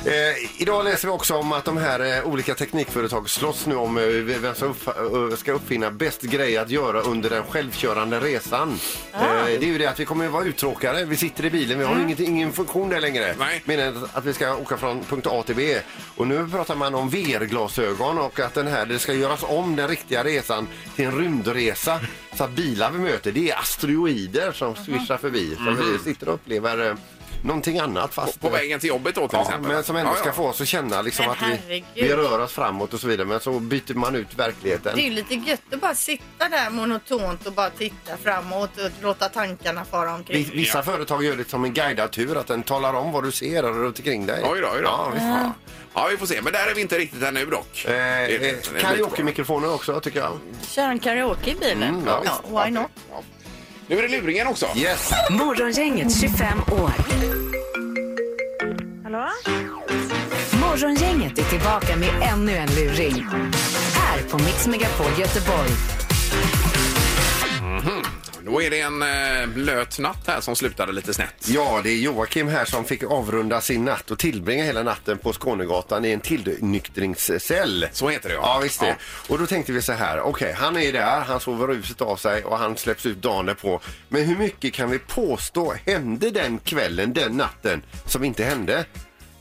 [SPEAKER 5] Eh, idag läser vi också om att de här eh, olika teknikföretag slåss nu om eh, vem som uppf- eh, ska uppfinna bäst grej att göra under den självkörande resan. Eh, det är ju det att vi kommer att vara uttråkade. Vi sitter i bilen, vi har inget, ingen funktion där längre.
[SPEAKER 2] Nej.
[SPEAKER 5] Men att- att vi ska åka från punkt A till B. Och nu pratar man om VR-glasögon och att den här, det ska göras om den riktiga resan till en rymdresa. Så att bilar vi möter, det är asteroider som svischar förbi. Så vi sitter och upplever eh, någonting annat fast...
[SPEAKER 2] På vägen till jobbet då till
[SPEAKER 5] Mm. Ja,
[SPEAKER 2] exempel.
[SPEAKER 5] men som ändå
[SPEAKER 2] Ja, ja.
[SPEAKER 5] ska få oss att känna liksom
[SPEAKER 3] Men
[SPEAKER 5] att vi,
[SPEAKER 3] herregud.
[SPEAKER 5] vi rör oss framåt och så vidare. Men så byter man ut verkligheten.
[SPEAKER 3] Det är ju lite gött att bara sitta där monotont och bara titta framåt och låta tankarna fara
[SPEAKER 5] Vi-
[SPEAKER 3] omkring.
[SPEAKER 5] Vissa
[SPEAKER 2] Ja.
[SPEAKER 5] företag gör det som en guidad tur, att den talar om vad du ser runt omkring dig.
[SPEAKER 2] Oj då, oj då. Ja,
[SPEAKER 5] Ja, visst.
[SPEAKER 2] ja. vi får se. Men där är vi inte riktigt ännu dock. Det
[SPEAKER 5] Eh,
[SPEAKER 2] är- det
[SPEAKER 5] eh,
[SPEAKER 2] är lite kvar.
[SPEAKER 5] Karaoke-mikrofoner också, tycker jag.
[SPEAKER 3] Kör en karaoke i bilen.
[SPEAKER 5] Mm, ja,
[SPEAKER 3] ja,
[SPEAKER 5] visst.
[SPEAKER 3] why not?
[SPEAKER 2] Ja. Nu är det luringen också.
[SPEAKER 5] Yes!
[SPEAKER 1] Morgongänget 25 år.
[SPEAKER 8] Hallå?
[SPEAKER 1] Morgongänget är tillbaka med ännu en luring. Här på Mix Megapol Göteborg.
[SPEAKER 2] Då är det en eh, blöt natt här som slutade lite snett.
[SPEAKER 5] Ja, det är Joakim här som fick avrunda sin natt och tillbringa hela natten på Skånegatan i en tillnyktringscell.
[SPEAKER 2] Så heter det, ja.
[SPEAKER 5] ja. visst det. Och då tänkte vi så här, okej, han är där, han sover ruset av sig och han släpps ut dagen därpå. Men hur mycket kan vi påstå hände den kvällen, den natten, som inte hände?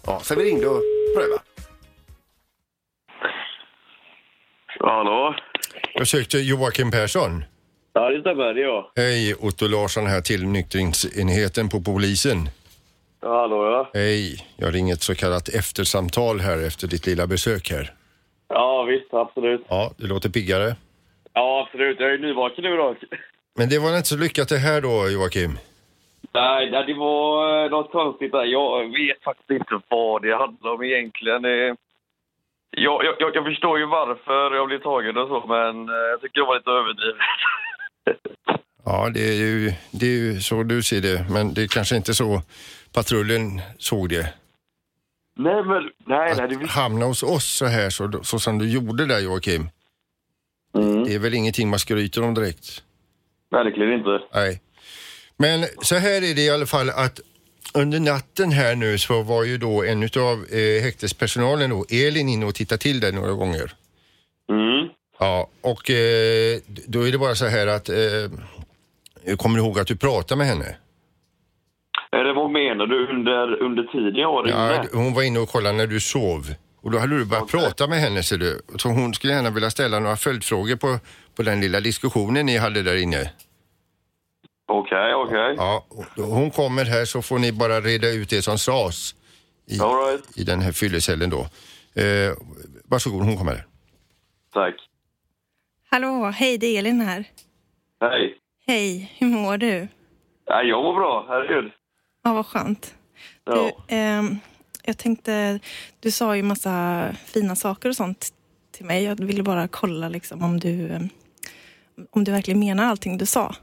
[SPEAKER 5] Ja, så vi ringde och prövade.
[SPEAKER 9] Hallå?
[SPEAKER 10] Jag sökte Joakim Persson.
[SPEAKER 9] Ja, det stämmer. Det är jag.
[SPEAKER 10] Hej, Otto Larsson här, tillnyktringsenheten på polisen.
[SPEAKER 9] Ja, hallå, ja.
[SPEAKER 10] Hej, jag ringer ett så kallat eftersamtal här efter ditt lilla besök här.
[SPEAKER 9] Ja, visst. Absolut.
[SPEAKER 10] Ja, det låter piggare.
[SPEAKER 9] Ja, absolut. Jag är nyvaken nu då.
[SPEAKER 10] Men det var inte så lyckat det här då, Joakim.
[SPEAKER 9] Nej, nej, det var eh, något konstigt där. Jag vet faktiskt inte vad det handlade om egentligen. Eh, Jag, jag, jag- jag förstår ju varför jag blev tagen och så, men eh, jag tycker det var lite överdrivet.
[SPEAKER 10] Ja, det är, ju, det är ju så du ser det, men det är kanske inte så patrullen såg det.
[SPEAKER 9] <laughs> Nej, men... Nej, nej, det
[SPEAKER 10] Att hamna hos oss så här, så, så som du gjorde där, Joakim,
[SPEAKER 9] mm,
[SPEAKER 10] det är väl ingenting man skryter om direkt?
[SPEAKER 9] verkligen inte.
[SPEAKER 10] Nej. Men så här är det i alla fall att under natten här nu så var ju då en utav eh, häktespersonalen då, Elin, inne och tittade till dig några gånger.
[SPEAKER 9] Mm.
[SPEAKER 10] Ja, och eh, då är det bara så här att eh, kommer du ihåg att du pratade med henne?
[SPEAKER 9] Eller vad menar du under, under tiden jag var
[SPEAKER 5] Ja,
[SPEAKER 9] inne?
[SPEAKER 5] hon var inne och kollade när du sov. Och då hade du börjat prata med henne, ser du. Så hon skulle gärna vilja ställa några följdfrågor på, på den lilla diskussionen ni hade där inne.
[SPEAKER 9] Okej, okej.
[SPEAKER 5] Ja, och hon kommer här så får ni bara reda ut det som sades i, i den här fyllecellen då. Eh, varsågod, hon kommer här.
[SPEAKER 9] Tack.
[SPEAKER 11] Hallå, hej det är Elin här.
[SPEAKER 9] Hej.
[SPEAKER 11] Hej, hur mår du?
[SPEAKER 9] Nej, jag mår bra, herregud.
[SPEAKER 11] Ja, vad skönt.
[SPEAKER 9] Ja.
[SPEAKER 11] Du, ehm, jag tänkte, du sa ju massa fina saker och sånt till mig. Jag ville bara kolla liksom om du, ehm, om du verkligen menar allting du sa.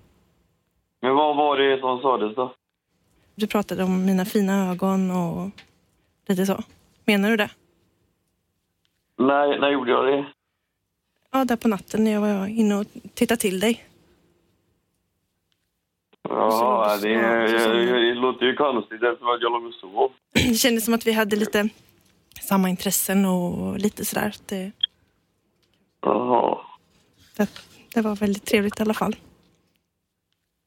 [SPEAKER 9] Men vad var det som sades då?
[SPEAKER 11] Du pratade om mina fina ögon och lite så. Menar du det?
[SPEAKER 9] När, när gjorde jag det?
[SPEAKER 11] Ja, där på natten när jag var inne och tittade till dig.
[SPEAKER 9] Ja, det, det, det låter ju konstigt eftersom att jag låg och sov.
[SPEAKER 11] Det <clears throat> kändes som att vi hade lite samma intressen och lite sådär. Det,
[SPEAKER 9] Jaha.
[SPEAKER 11] det var väldigt trevligt i alla fall.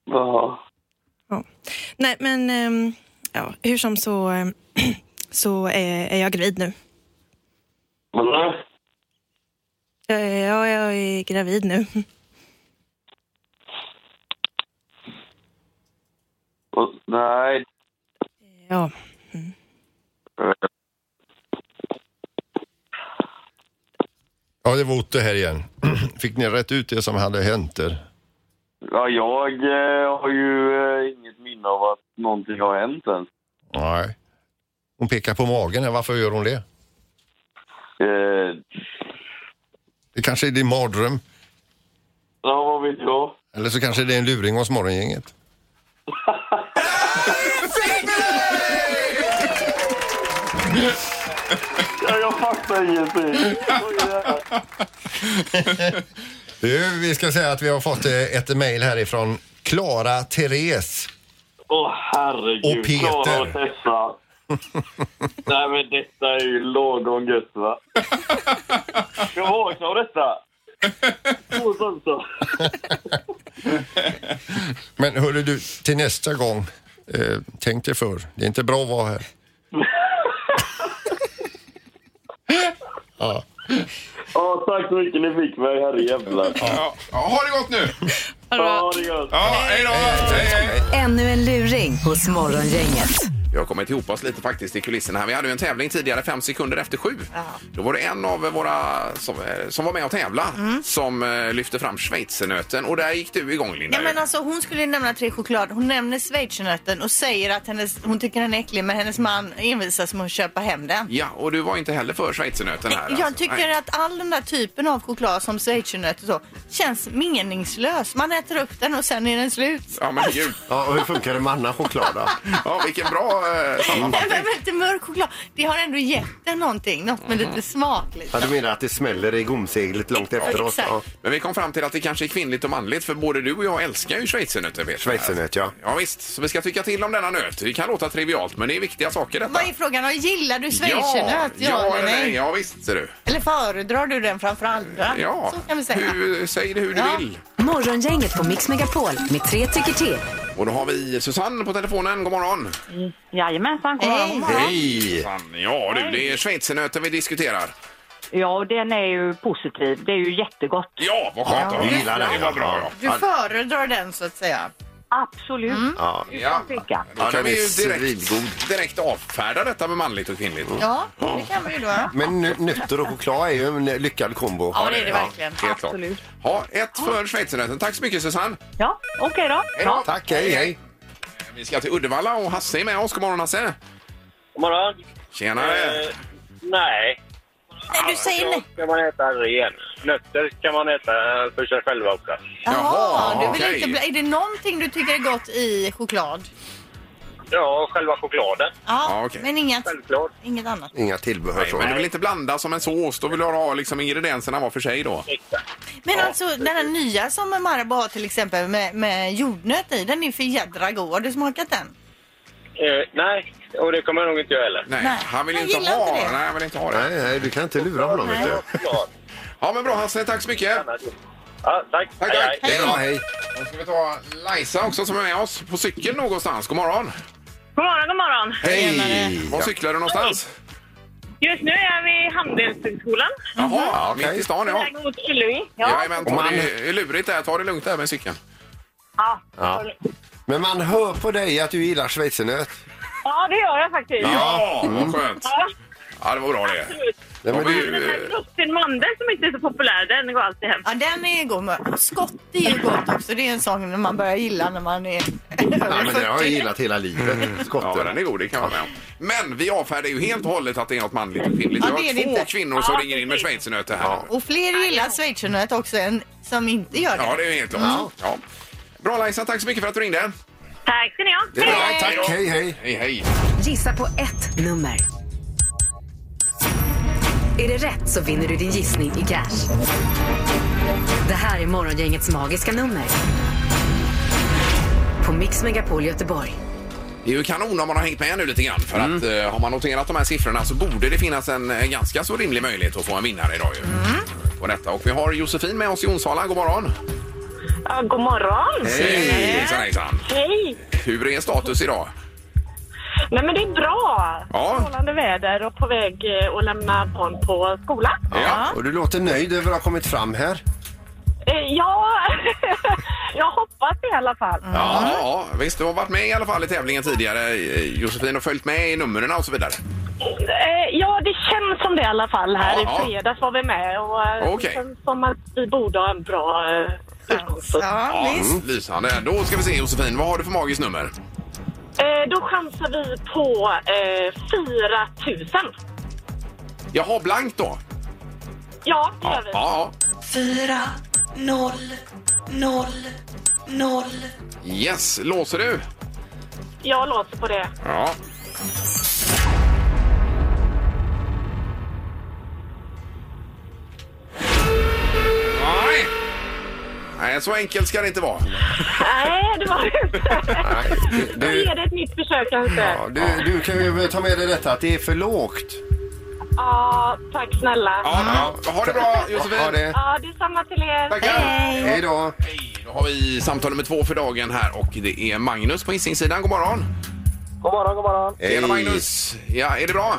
[SPEAKER 9] Jaha.
[SPEAKER 11] Nej, men ehm, ja, hur som så, ehm, <clears throat> så är, är jag gravid nu.
[SPEAKER 9] Men nej,
[SPEAKER 11] Jag är, ja, jag är gravid nu. <laughs>
[SPEAKER 9] och, nej.
[SPEAKER 11] Ja.
[SPEAKER 5] Ja, det var Otto här igen. <clears throat> Fick ni rätt ut det som hade hänt där?
[SPEAKER 9] Ja, jag eh, har ju eh, inget minne av att någonting har hänt ens.
[SPEAKER 5] Nej. Hon pekar på magen här, varför gör hon det?
[SPEAKER 9] Eh,
[SPEAKER 5] Det kanske är din mardröm,
[SPEAKER 9] ja, vad vet jag?
[SPEAKER 5] eller så kanske det är en luring hos morgongänget.
[SPEAKER 9] Ja, jag fattar ingenting.
[SPEAKER 5] Du, vi ska säga att vi har fått eh, ett mejl härifrån Klara Therese.
[SPEAKER 9] Åh herregud.
[SPEAKER 5] Och Peter.
[SPEAKER 9] Klara och Tessa. Nej men detta är ju lagom gött va. Jag vaknar av detta. Åh, Sansa.
[SPEAKER 5] Men hörru du, till nästa gång, eh, tänk dig för. Det är inte bra att vara här. ja.
[SPEAKER 9] Ja, tack så mycket ni fick mig. Herrejävlar.
[SPEAKER 2] Ja, ha det gott nu!
[SPEAKER 9] Ha det gott.
[SPEAKER 2] Ja, hej då! Hej, hej.
[SPEAKER 1] Ännu en luring hos Morgongänget.
[SPEAKER 2] Vi har kommit ihop oss lite faktiskt i kulisserna här. Vi hade ju en tävling tidigare, fem sekunder efter sju. Då var det en av våra som, eh, som var med och tävla
[SPEAKER 3] Mm.
[SPEAKER 2] som eh, lyfte fram schweizernöten och där gick du igång Linda.
[SPEAKER 3] Ja, men alltså, hon skulle nämna tre choklad. Hon nämner schweizernöten och säger att hennes, hon tycker den är äcklig men hennes man envisas med att köpa hem den.
[SPEAKER 2] Ja, och du var inte heller för schweizernöten här.
[SPEAKER 3] Jag tycker
[SPEAKER 2] alltså, Nej.
[SPEAKER 3] att all den där typen av choklad som schweizernöt och så känns meningslös. Man äter upp den och sen är den slut.
[SPEAKER 2] Ja, men gud.
[SPEAKER 6] Ja, och hur funkar det med annan choklad då?
[SPEAKER 2] Ja, vilken bra eh,
[SPEAKER 3] <laughs> <laughs> Nej,
[SPEAKER 2] sammanfattning.
[SPEAKER 3] men inte mörk choklad. Det har ändå gett den någonting. Något
[SPEAKER 2] Mhm.
[SPEAKER 3] med lite smak. Liksom.
[SPEAKER 6] Ja, du menar att det smäller i gomseglet långt efteråt?
[SPEAKER 3] Exakt.
[SPEAKER 6] Ja.
[SPEAKER 2] Men vi kom fram till att det kanske är kvinnligt och manligt för både du och jag älskar ju schweizernötter. Peter.
[SPEAKER 6] Schweizernöt, ja.
[SPEAKER 2] Ja visst, så vi ska tycka till om denna nöt. Det kan låta trivialt men det är viktiga saker detta.
[SPEAKER 3] Vad är frågan? Och Gillar du
[SPEAKER 2] Ja,
[SPEAKER 3] schweizernöt?
[SPEAKER 2] ja eller nej? Ja visst ser du.
[SPEAKER 3] Eller föredrar du den framför andra?
[SPEAKER 2] Ja,
[SPEAKER 3] Så kan vi säga.
[SPEAKER 2] Hur, säg det hur du
[SPEAKER 3] Ja.
[SPEAKER 2] vill.
[SPEAKER 1] Morgongänget på Mix Megapol med tre tycker till.
[SPEAKER 2] Och då har vi Susanne på telefonen. God morgon!
[SPEAKER 12] Jajamensan, god morgon, god morgon.
[SPEAKER 2] Hej! Ja du, det är schweizernöten vi diskuterar.
[SPEAKER 12] Ja, och den är ju positiv. Det är ju jättegott.
[SPEAKER 2] Ja, vad skönt att höra.
[SPEAKER 6] Vi gillar det.
[SPEAKER 2] Det var bra.
[SPEAKER 3] Du föredrar den så att säga.
[SPEAKER 12] Absolut.
[SPEAKER 6] Ja.
[SPEAKER 2] Ja,
[SPEAKER 12] Peka.
[SPEAKER 2] då
[SPEAKER 6] Ja,
[SPEAKER 2] kan
[SPEAKER 6] den
[SPEAKER 2] vi
[SPEAKER 6] är
[SPEAKER 2] ju direkt,
[SPEAKER 6] svingod.
[SPEAKER 2] direkt avfärda detta med manligt och kvinnligt.
[SPEAKER 3] Ja, det kan vi ju då.
[SPEAKER 6] Men nö- nötter och choklad är ju en lyckad kombo.
[SPEAKER 3] Ja, det är det verkligen.
[SPEAKER 2] Helt klart.
[SPEAKER 12] Absolut.
[SPEAKER 2] Ja, ett för schweizernöten. Tack så mycket Susanne!
[SPEAKER 12] Ja, okej då.
[SPEAKER 2] Hej då.
[SPEAKER 12] Ja.
[SPEAKER 6] Tack, hej hej.
[SPEAKER 2] Vi ska till Uddevalla och Hasse är med oss. God morgon Hasse!
[SPEAKER 9] God morgon. Eh,
[SPEAKER 2] Tjenare!
[SPEAKER 9] nej.
[SPEAKER 3] Nej, du säger nej.
[SPEAKER 9] ska man äta ren. Nötter ska man äta för sig själva också.
[SPEAKER 3] Jaha, du vill
[SPEAKER 2] okej.
[SPEAKER 3] inte bli... Är det någonting du tycker är gott i choklad?
[SPEAKER 9] Ja, själva chokladen.
[SPEAKER 3] Ja,
[SPEAKER 2] Ja, okej.
[SPEAKER 3] men inget,
[SPEAKER 9] Självklart.
[SPEAKER 3] inget annat.
[SPEAKER 6] Inga tillbehör
[SPEAKER 2] Nej,
[SPEAKER 6] så.
[SPEAKER 2] men du vill inte blanda som en sås. Då vill du ha liksom ingredienserna var för sig då.
[SPEAKER 3] Men alltså den här nya som Marabou har till exempel med, med jordnöt i, den är för jädra god. Har du smakat den?
[SPEAKER 9] Eh, nej, och det kommer jag nog inte göra heller.
[SPEAKER 2] Nej,
[SPEAKER 3] Nej,
[SPEAKER 2] han vill
[SPEAKER 3] jag
[SPEAKER 2] inte
[SPEAKER 3] gillar
[SPEAKER 2] ha
[SPEAKER 3] inte
[SPEAKER 2] det.
[SPEAKER 3] det.
[SPEAKER 2] Nej, han vill inte ha det.
[SPEAKER 6] Nej, nej, du kan inte lura honom. Vet du.
[SPEAKER 2] Ja, men bra Hasse. Tack så mycket.
[SPEAKER 9] Ja, tack.
[SPEAKER 2] Tack, tack.
[SPEAKER 6] Hej då, hej.
[SPEAKER 2] Då ska vi ta Lajsa också som är med oss på cykeln någonstans. God morgon.
[SPEAKER 8] God morgon, god morgon.
[SPEAKER 2] Hej! Var cyklar du någonstans?
[SPEAKER 8] Just nu är vi i Handelshögskolan.
[SPEAKER 2] Jaha, mitt i stan ja.
[SPEAKER 8] På väg mot Hillevi. Ja.
[SPEAKER 2] Jajamän, ta det är lurigt där. Ta det lugnt där med cykeln.
[SPEAKER 8] Ja.
[SPEAKER 5] Ja. Men man hör på dig att du gillar schweizernöt.
[SPEAKER 8] ja, det gör jag faktiskt.
[SPEAKER 2] Ja, vad skönt.
[SPEAKER 8] Ja,
[SPEAKER 2] Ja, det var bra det.
[SPEAKER 8] absolut.
[SPEAKER 2] Nej, men
[SPEAKER 8] Men den här
[SPEAKER 2] du,
[SPEAKER 8] frostin mandel som inte är så populär, den går alltid hem.
[SPEAKER 3] Ja, den är god. med- Skott är ju gott också. Det är en sång man börjar gilla när man är
[SPEAKER 5] Ja,
[SPEAKER 3] över
[SPEAKER 5] men det har jag
[SPEAKER 3] 40.
[SPEAKER 5] gillat hela livet.
[SPEAKER 2] ja,
[SPEAKER 5] Skotten.
[SPEAKER 2] den är god, det kan jag vara med om. Men vi avfärdar ju helt och hållet att det är något manligt och kvinnligt.
[SPEAKER 3] Ja,
[SPEAKER 2] Vi har
[SPEAKER 3] det är det
[SPEAKER 2] två
[SPEAKER 3] inte.
[SPEAKER 2] kvinnor som ringer in med schweizernötter här.
[SPEAKER 3] Och fler gillar schweizernöt också än som inte gör det.
[SPEAKER 2] Ja, det är ju helt klart. Ja. Bra Lajsan, tack så mycket för att du ringde.
[SPEAKER 8] Tack ska ni ha.
[SPEAKER 2] Det är bra, tack.
[SPEAKER 5] Hej, hej.
[SPEAKER 2] Hej, hej.
[SPEAKER 1] Gissa på ett nummer. Är det rätt så vinner du din gissning i cash. Det här är Morgongängets magiska nummer. På Mix Megapol Göteborg.
[SPEAKER 2] Det är ju kanon om man har hängt med nu lite grann. För att eh, har man noterat de här siffrorna så borde det finnas en eh, ganska så rimlig möjlighet att få en vinnare idag ju. På detta. Och vi har Josefin med oss i Onsala. God morgon!
[SPEAKER 8] Ja, god morgon.
[SPEAKER 2] Hejsan hejsan!
[SPEAKER 8] Hej!
[SPEAKER 2] Hur är status idag?
[SPEAKER 8] Nej men det är bra!
[SPEAKER 2] Ja.
[SPEAKER 8] Strålande väder och på väg eh, att lämna barn på skolan.
[SPEAKER 5] Ja. Och du låter nöjd över att ha kommit fram här.
[SPEAKER 8] Eh, Ja, <laughs> jag hoppas i alla fall.
[SPEAKER 2] Ja, ja, visst. Du har varit med i alla fall i tävlingen tidigare eh, Josefin och följt med i numren och så vidare.
[SPEAKER 8] Eh, Ja, det känns som det i alla fall. Här
[SPEAKER 2] Ja,
[SPEAKER 8] i
[SPEAKER 2] ja.
[SPEAKER 8] fredags var vi med och eh,
[SPEAKER 2] Okej.
[SPEAKER 8] det känns som att vi borde ha en bra eh,
[SPEAKER 3] Alltså,
[SPEAKER 8] utgångspunkt.
[SPEAKER 2] Ja, mm, Lysande. Då ska vi se Josefin, vad har du för magiskt nummer?
[SPEAKER 8] Eh, Då chansar vi på eh, 4 000.
[SPEAKER 2] Jaha, blankt då?
[SPEAKER 8] Ja, det
[SPEAKER 2] Ja,
[SPEAKER 8] gör vi.
[SPEAKER 2] ja.
[SPEAKER 13] Fyra, noll, noll, noll.
[SPEAKER 2] Yes, låser du?
[SPEAKER 8] Jag låter på det.
[SPEAKER 2] Ja. Nej. Nej, så enkelt ska det inte vara.
[SPEAKER 8] Nej, det var det inte. Då
[SPEAKER 2] Eh.
[SPEAKER 5] Du,
[SPEAKER 8] ger det ett nytt försök kanske.
[SPEAKER 5] ja, du, du kan ju ta med dig detta att det är för lågt.
[SPEAKER 8] Ja, tack snälla.
[SPEAKER 2] Ja, ja. Ha det bra, Josefin.
[SPEAKER 5] Ha det.
[SPEAKER 8] Ja, detsamma till er.
[SPEAKER 2] Tackar.
[SPEAKER 5] Hej då.
[SPEAKER 2] Då har vi samtal nummer två för dagen här och det är Magnus på Hisingssidan. God morgon!
[SPEAKER 12] God morgon, god morgon.
[SPEAKER 2] Tjena Magnus! Ja, är det bra?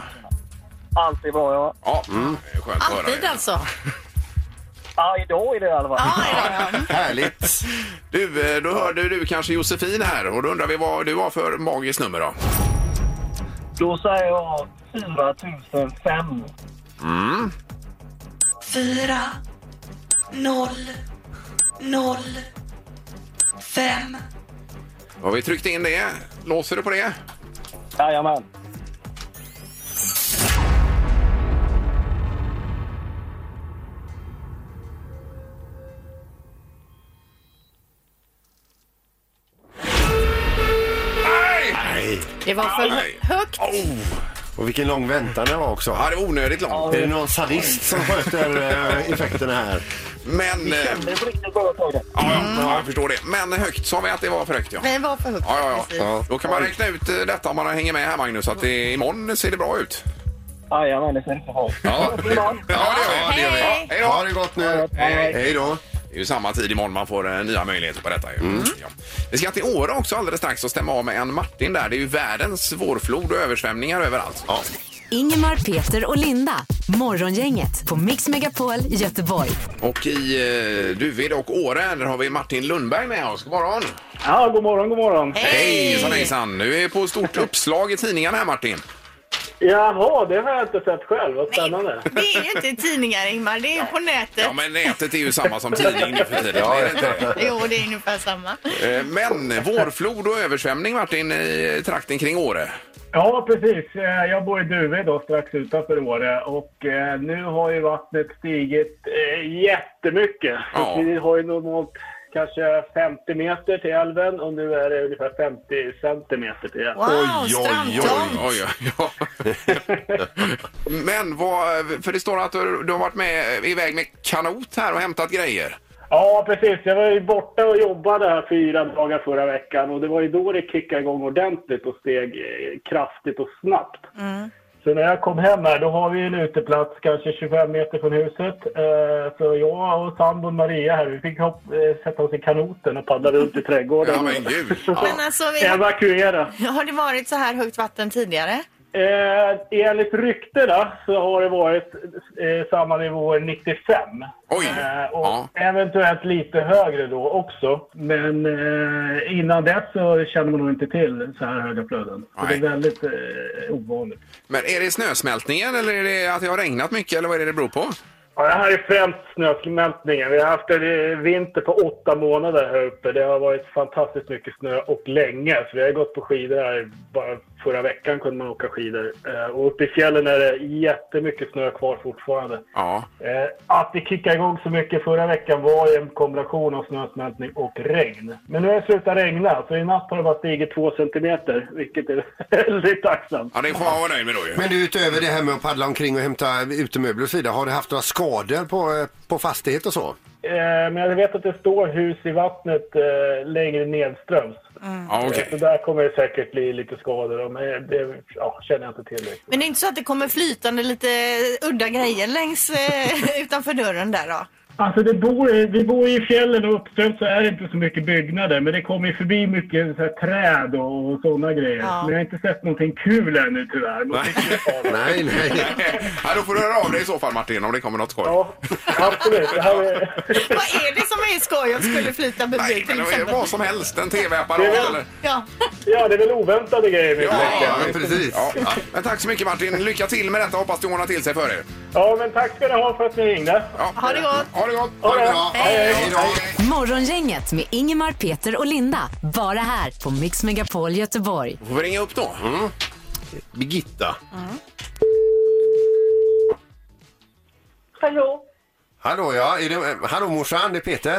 [SPEAKER 12] Allt är bra, ja.
[SPEAKER 2] Ja, mm. skönt att höra.
[SPEAKER 3] Alltid
[SPEAKER 2] det.
[SPEAKER 3] alltså.
[SPEAKER 12] Ja, idag är det i alla fall.
[SPEAKER 3] <laughs>
[SPEAKER 5] Härligt!
[SPEAKER 2] Du, eh, då hörde du kanske Josefin här och då undrar vi vad du har för magiskt nummer då?
[SPEAKER 12] Då säger jag 4005.
[SPEAKER 2] Mm.
[SPEAKER 13] Fyra, noll, noll, fem.
[SPEAKER 2] Då har vi tryckt in det. Låser du på det?
[SPEAKER 12] Jajamän.
[SPEAKER 2] Nej!
[SPEAKER 3] Det var för
[SPEAKER 2] Nej.
[SPEAKER 3] högt.
[SPEAKER 5] Och vilken lång väntan det var också.
[SPEAKER 2] Oh, Ja, det var onödigt långt.
[SPEAKER 5] Är det någon sadist som sköter eh, effekterna här?
[SPEAKER 2] Men... eh, Ja, ja, ja, jag förstår det. Men högt sa vi att det var för högt, ja.
[SPEAKER 3] Det var för högt.
[SPEAKER 2] Ja, ja,
[SPEAKER 3] precis.
[SPEAKER 2] ja. Då kan man räkna ut eh, detta om man hänger med här, Magnus, att det, imorgon ser det bra ut.
[SPEAKER 12] Jajamän, det ser ut så.
[SPEAKER 2] Ja, det gör vi. Ja, det gör vi. Ja, Hej då!
[SPEAKER 5] Ha det gott nu.
[SPEAKER 2] Hej, hej.
[SPEAKER 5] Hej då.
[SPEAKER 2] Det är ju samma tid imorgon man får eh, nya möjligheter på detta. ju. Ja. Vi ska till Åre också alldeles strax och stämma av med en Martin där. Det är ju världens vårflod och översvämningar överallt. Ja.
[SPEAKER 1] Ingemar, Peter och Linda. Morgongänget på Mix Megapol Göteborg.
[SPEAKER 2] Och i eh, Duved och Åre där har vi Martin Lundberg med oss. God morgon!
[SPEAKER 12] Ja, god morgon, god morgon.
[SPEAKER 2] Hej! Hejsan, hejsan! Du är på <laughs> stort uppslag i tidningarna här Martin.
[SPEAKER 12] Jaha, det har jag inte sett själv. Vad spännande.
[SPEAKER 3] Det är ju inte i tidningar, Ingmar. Det är på nätet.
[SPEAKER 2] Ja, men nätet är ju samma som tidning nu för tiden.
[SPEAKER 5] Ja,
[SPEAKER 2] är det inte?
[SPEAKER 3] Jo, det är ungefär samma.
[SPEAKER 2] Eh, Men vårflod och översvämning Martin i trakten kring Åre.
[SPEAKER 12] Ja, precis. Eh, Jag bor i Duved då, strax utanför Åre. Och eh, nu har ju vattnet stigit eh, jättemycket.
[SPEAKER 2] Ja.
[SPEAKER 12] Vi har ju normalt kanske 50 meter till älven och nu är det ungefär 50 centimeter till älven.
[SPEAKER 3] Wow, strandtomt!
[SPEAKER 2] oj, oj, oj. Men vad, för det står att du, du har varit med iväg med kanot här och hämtat grejer.
[SPEAKER 12] Ja, precis. Jag var ju borta och jobbade här fyra dagar förra
[SPEAKER 14] Mm.
[SPEAKER 12] veckan och det var ju då det kickade igång ordentligt och steg eh, kraftigt och snabbt. Så när jag kom hem här, då har vi en uteplats kanske 25 meter från huset. Eh, Så jag och sambon Maria här, vi fick hopp, eh, sätta oss i kanoten och paddla runt i trädgården.
[SPEAKER 2] Ja, men gud.
[SPEAKER 3] Men alltså, vi-
[SPEAKER 12] Evakuera.
[SPEAKER 3] Har det varit så här högt vatten tidigare?
[SPEAKER 12] Eh, enligt ryktena så har det varit eh, samma nivåer 95. Eh, och Eventuellt lite högre då också. Men eh, innan dess så känner man nog inte till så här höga flöden. Så det är väldigt eh, ovanligt.
[SPEAKER 2] Men är det snösmältningen eller är det att det har regnat mycket eller vad är det det beror på?
[SPEAKER 12] Ja, det här är främst snösmältningen. Vi har haft en eh, vinter på åtta månader här uppe. Det har varit fantastiskt mycket snö och länge. Så vi har gått på skidor här. Bara förra veckan kunde man åka skidor. Eh, Och uppe i fjällen är det jättemycket snö kvar fortfarande.
[SPEAKER 2] Ja.
[SPEAKER 12] Eh, Att det kickade igång så mycket förra veckan var ju en kombination av snösmältning och regn. Men nu har det slutat regna, så i natt har det bara stigit två centimeter, vilket är <laughs> väldigt tacksamt.
[SPEAKER 2] Ja, det får man vara nöjd med då ju.
[SPEAKER 12] Mm.
[SPEAKER 5] Men du, utöver det här med att paddla omkring och hämta utemöbler och så vidare, har du haft några skador på, eh, på fastighet och så?
[SPEAKER 12] Eh, Men jag vet att det står hus i vattnet eh, längre nedströms.
[SPEAKER 2] Ja,
[SPEAKER 12] Eh, Så där kommer det säkert bli lite skador. då, Men det ja, känner jag inte till. riktigt.
[SPEAKER 3] Men det är inte så att det kommer flytande lite udda grejer längs eh, utanför dörren där då?
[SPEAKER 12] Alltså det bor, i- vi bor i fjällen och uppströms så är det inte så mycket byggnader. Men det kommer ju förbi mycket så här, träd och, och sådana grejer.
[SPEAKER 2] Ja.
[SPEAKER 12] Men jag har inte sett någonting kul ännu tyvärr. Men- <laughs>
[SPEAKER 2] Nej, nej. <laughs> Ja, då får du höra av dig i så fall Martin om det kommer något skoj.
[SPEAKER 12] Ja, absolut. Det här är...
[SPEAKER 3] Vad är det som är skoj om skulle flyta
[SPEAKER 2] Nej,
[SPEAKER 3] förbi
[SPEAKER 2] men
[SPEAKER 3] till
[SPEAKER 2] det är
[SPEAKER 3] exempel?
[SPEAKER 2] vad som helst. En
[SPEAKER 12] Det är
[SPEAKER 2] tv-apparat
[SPEAKER 12] väl-
[SPEAKER 2] eller...
[SPEAKER 3] Ja.
[SPEAKER 12] ja, det är väl oväntade grejer. vi
[SPEAKER 2] Ja,
[SPEAKER 12] upptäcker.
[SPEAKER 2] men precis. Ja. Men tack så mycket Martin. Lycka till med detta. Hoppas det ordnar till sig för er.
[SPEAKER 12] Ja, men tack ska ni ha för att ni ringde.
[SPEAKER 3] Ha det gott!
[SPEAKER 2] Ha det gott!
[SPEAKER 12] Ha det bra!
[SPEAKER 2] Hej då!
[SPEAKER 1] Morgongänget med Ingemar, Peter och Linda. Bara här på Mix Megapol Göteborg.
[SPEAKER 2] Då får vi ringa upp då.
[SPEAKER 5] Birgitta.
[SPEAKER 14] Hallå,
[SPEAKER 5] Hallå ja, är det, eh, hallå morsan, det är Peter.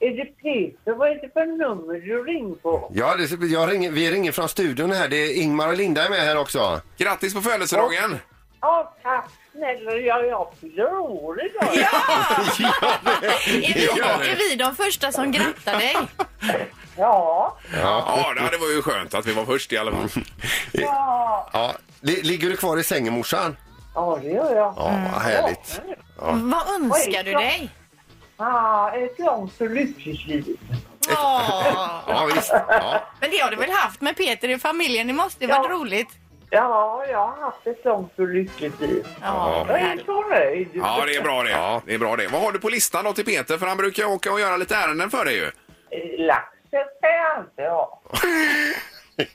[SPEAKER 14] är det Peter? Vad är det för nummer du ringer på?
[SPEAKER 5] Ja, det, jag ringer, vi ringer från studion här. Det är Ingmar och Linda är med här också.
[SPEAKER 2] Grattis på födelsedagen!
[SPEAKER 14] Ja, tack snälla. Ja, jag fyller år idag.
[SPEAKER 3] Är vi, är vi de första som grattar dig?
[SPEAKER 14] Ja.
[SPEAKER 2] Ja, det var ju skönt att vi var först i alla fall.
[SPEAKER 14] Ja,
[SPEAKER 5] Ja, li- ligger du kvar i sängen morsan?
[SPEAKER 14] ja det gör jag.
[SPEAKER 5] Ja, vad härligt. Ja.
[SPEAKER 3] Vad önskar du dig?
[SPEAKER 14] Ja, ett långt och lyckligt liv.
[SPEAKER 3] Ja.
[SPEAKER 5] Ja, visst. Ja.
[SPEAKER 3] Men det har du väl haft med Peter i familjen? Det måste ju varit roligt.
[SPEAKER 14] Ja, jag har haft ett långt och lyckligt liv.
[SPEAKER 2] Ja.
[SPEAKER 14] Jag är så nöjd.
[SPEAKER 2] Ja, det är bra det. Det är bra det. Vad har du på listan då till Peter? För han brukar åka och göra lite ärenden för dig ju.
[SPEAKER 14] Laxen ska jag inte ha.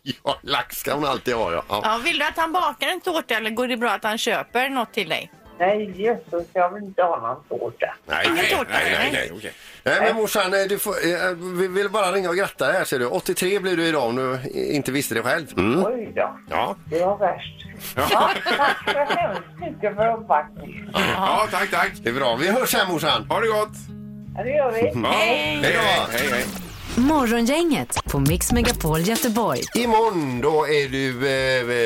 [SPEAKER 5] Ja, lax ska hon alltid ha ja.
[SPEAKER 3] Ja, vill du att han bakar en tårta eller går det bra att han köper något till dig?
[SPEAKER 14] Nej, jösses, jag vill inte ha någon tårta.
[SPEAKER 5] Nej, nej, nej, nej,
[SPEAKER 2] okej.
[SPEAKER 5] Nej, men morsan, eh, du får, eh, vi vill bara ringa och gratta dig här ser du. 83 blir du idag om du inte visste det själv. Mm.
[SPEAKER 14] Oj då.
[SPEAKER 5] Ja.
[SPEAKER 14] Det var värst. Ja, tack så hemskt mycket för uppvaktningen.
[SPEAKER 2] Ja, tack, tack.
[SPEAKER 5] Det är bra. Vi hörs sen morsan.
[SPEAKER 2] Ha det gott.
[SPEAKER 14] Ja, det gör vi.
[SPEAKER 2] Hej då. Hej, hej.
[SPEAKER 1] Morgongänget på Mix Megapol Göteborg.
[SPEAKER 5] Imorgon då är du,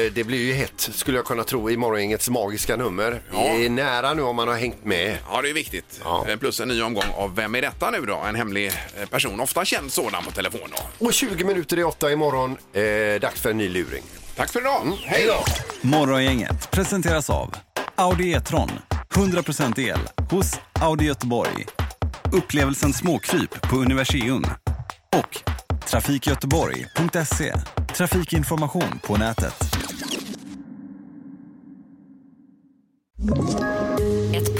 [SPEAKER 5] eh, det blir ju hett skulle jag kunna tro i morgongängets magiska nummer. Vi är nära nu om man har hängt med.
[SPEAKER 2] Ja, det är viktigt. Eh, Plus en ny omgång av Vem är detta nu då? En hemlig eh, person, ofta känd sådan på telefon. Då.
[SPEAKER 5] Och 20 minuter i åtta imorgon, eh, dags för en ny luring.
[SPEAKER 2] Tack för idag. Mm. Hej då!
[SPEAKER 15] Morgongänget presenteras av Audi E-tron. 100% el hos Audi Göteborg. Upplevelsen småkryp på Universium. Och trafikgöteborg.se. Trafikinformation på nätet.
[SPEAKER 16] Ett